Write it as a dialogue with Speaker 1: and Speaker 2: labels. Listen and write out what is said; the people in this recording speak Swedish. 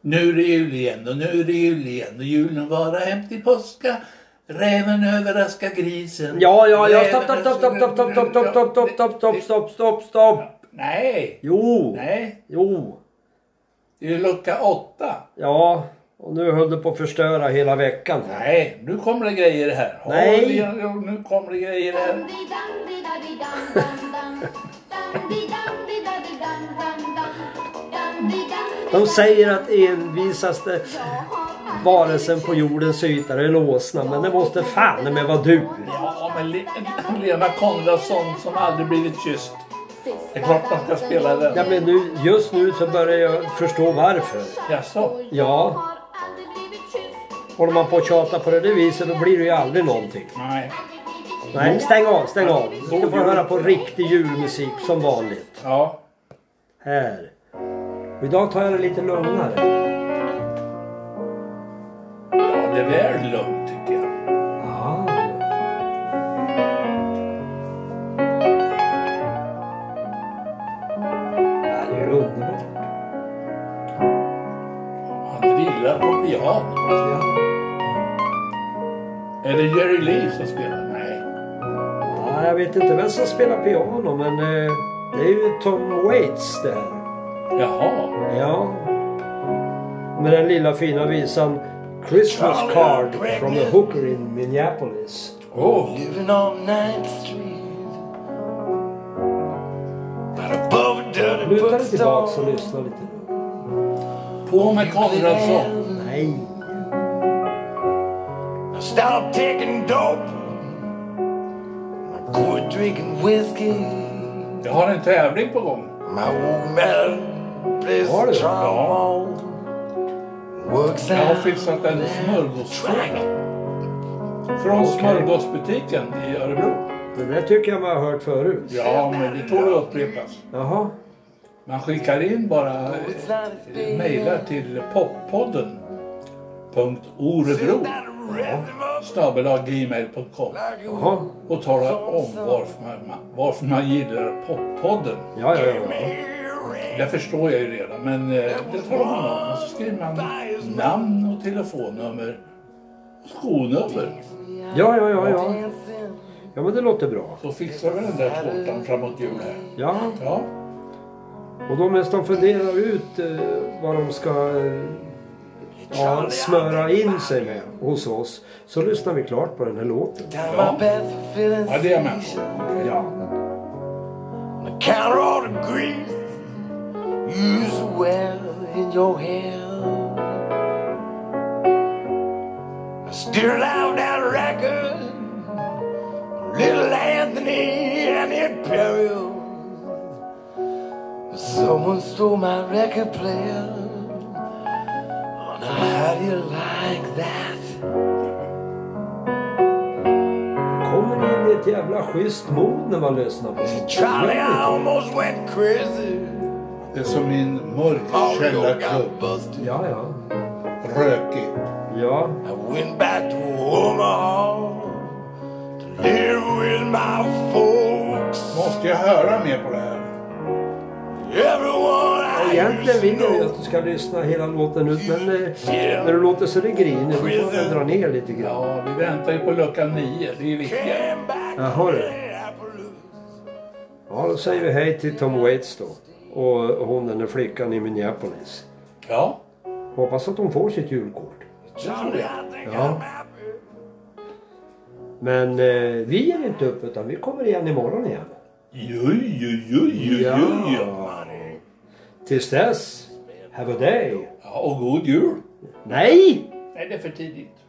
Speaker 1: Nu är det jul igen och nu är det jul igen och julen vara hem till påska. Räven överraskar grisen.
Speaker 2: Ja, ja, ja,
Speaker 1: Räven
Speaker 2: stopp, stopp, stopp, stopp, stopp, stopp, stopp, stopp, stopp, stopp, stopp, stopp, stopp, stopp.
Speaker 1: Nej,
Speaker 2: Jo,
Speaker 1: nej.
Speaker 2: jo,
Speaker 1: Det är lucka åtta.
Speaker 2: ja. Och nu höll du på att förstöra hela veckan.
Speaker 1: Nej, nu kommer det grejer här.
Speaker 2: Nej.
Speaker 1: Oj, oj, oj, nu kommer det grejer här.
Speaker 2: De säger att envisaste varelsen på jordens yta är en åsna, men det måste fan med vara du.
Speaker 1: Ja, men Le- Lena Konradsson som aldrig blivit kysst. Det är klart man ska spela den.
Speaker 2: Ja, men nu, just nu så börjar jag förstå varför.
Speaker 1: Jaså?
Speaker 2: Ja, håller man på att tjata på det där viset då blir det ju aldrig någonting.
Speaker 1: Nej.
Speaker 2: Nej, stäng av, stäng av. Du ska få höra på riktig julmusik som vanligt.
Speaker 1: Ja.
Speaker 2: Här. Och idag tar jag det lite lugnare.
Speaker 1: ja, det är väl lugnt tycker jag.
Speaker 2: Ah. Det här är ju underbart.
Speaker 1: Han drillar på piano.
Speaker 2: Ja.
Speaker 1: Är det Jerry Lee som spelar? Nej.
Speaker 2: Ja, jag vet inte vem som spelar piano men eh, det är ju Tom Waits det här.
Speaker 1: Jaha.
Speaker 2: Ja. Med den lilla fina visan Christmas card from a hooker in Minneapolis.
Speaker 1: Oh.
Speaker 3: Living on Ninth Street. Right above a dirty
Speaker 2: Luta dig tillbaks och
Speaker 3: bookstore.
Speaker 2: lyssna lite.
Speaker 1: På med Konradsson.
Speaker 2: Nej.
Speaker 3: I stopped taking dope. I quit drinking whiskey.
Speaker 1: Jag har en tävling på gång.
Speaker 3: My old man plays
Speaker 2: Har du?
Speaker 3: the trombone. Works
Speaker 1: Jag har
Speaker 3: out.
Speaker 1: fixat en smörgåstårta. Från smörgåsbutiken i Örebro.
Speaker 2: Det där tycker jag man har hört förut.
Speaker 1: Ja, men det tål att upprepas.
Speaker 2: Jaha.
Speaker 1: Man skickar in bara eh, mejlar till poppodden. Orebro snabel-gmail.com
Speaker 2: Jaha.
Speaker 1: och talar om varför man, varför man gillar poppodden.
Speaker 2: Ja, ja, ja. ja.
Speaker 1: Det förstår jag ju redan, men eh, det tar man om. Och så skriver man namn och telefonnummer och skonummer.
Speaker 2: Ja, ja, ja, ja. Ja, men det låter bra.
Speaker 1: Så fixar vi den där tårtan framåt jul här.
Speaker 2: Ja,
Speaker 1: Ja,
Speaker 2: och då medan de funderar ut eh, vad de ska eh, ja, smöra in sig med hos oss så lyssnar vi klart på den här låten.
Speaker 3: Down
Speaker 1: Ja.
Speaker 3: my path of feeling
Speaker 1: ja det är jag med
Speaker 3: sensation.
Speaker 1: på.
Speaker 2: Ja.
Speaker 3: The counter all the grease you used to wear in your hair. I still have that record, Little Anthony and the Imperial. Someone stole my record player. Oh, now how do you like that?
Speaker 2: Kommer in i ett jävla schysst mod när man lyssnar på den.
Speaker 3: Charlie, I almost went crazy.
Speaker 1: Det är som min mörk
Speaker 3: Audio got
Speaker 1: källarklubb.
Speaker 3: busted.
Speaker 2: Ja, ja.
Speaker 1: Rökig.
Speaker 2: Ja,
Speaker 3: I went back to Omaha to live with my folks.
Speaker 1: Måste jag höra mer på det här?
Speaker 3: Everyone
Speaker 2: och
Speaker 3: I
Speaker 2: egentligen
Speaker 3: used to
Speaker 2: vill jag ju att
Speaker 3: know.
Speaker 2: du ska lyssna hela låten ut men eh, när du låter så det griner då får jag dra ner lite grann.
Speaker 1: Ja, vi väntar ju på lucka nio. Det är ju viktigt.
Speaker 3: Came back to
Speaker 2: Jaha, du.
Speaker 3: Minneapolis.
Speaker 2: Ja, då säger vi hej till Tom Waits då. Och hon den där flickan i Minneapolis.
Speaker 1: Ja,
Speaker 2: Hoppas att hon får sitt julkort.
Speaker 3: Johnny, I think
Speaker 2: Ja.
Speaker 3: I'm happy.
Speaker 2: Men eh, vi ger inte upp utan vi kommer igen imorgon igen.
Speaker 1: ju, ju, ju, ju, ju, ju.
Speaker 2: Tills dess, have a day.
Speaker 1: Ja, och god jul.
Speaker 2: Nej!
Speaker 1: Nej, det är för tidigt.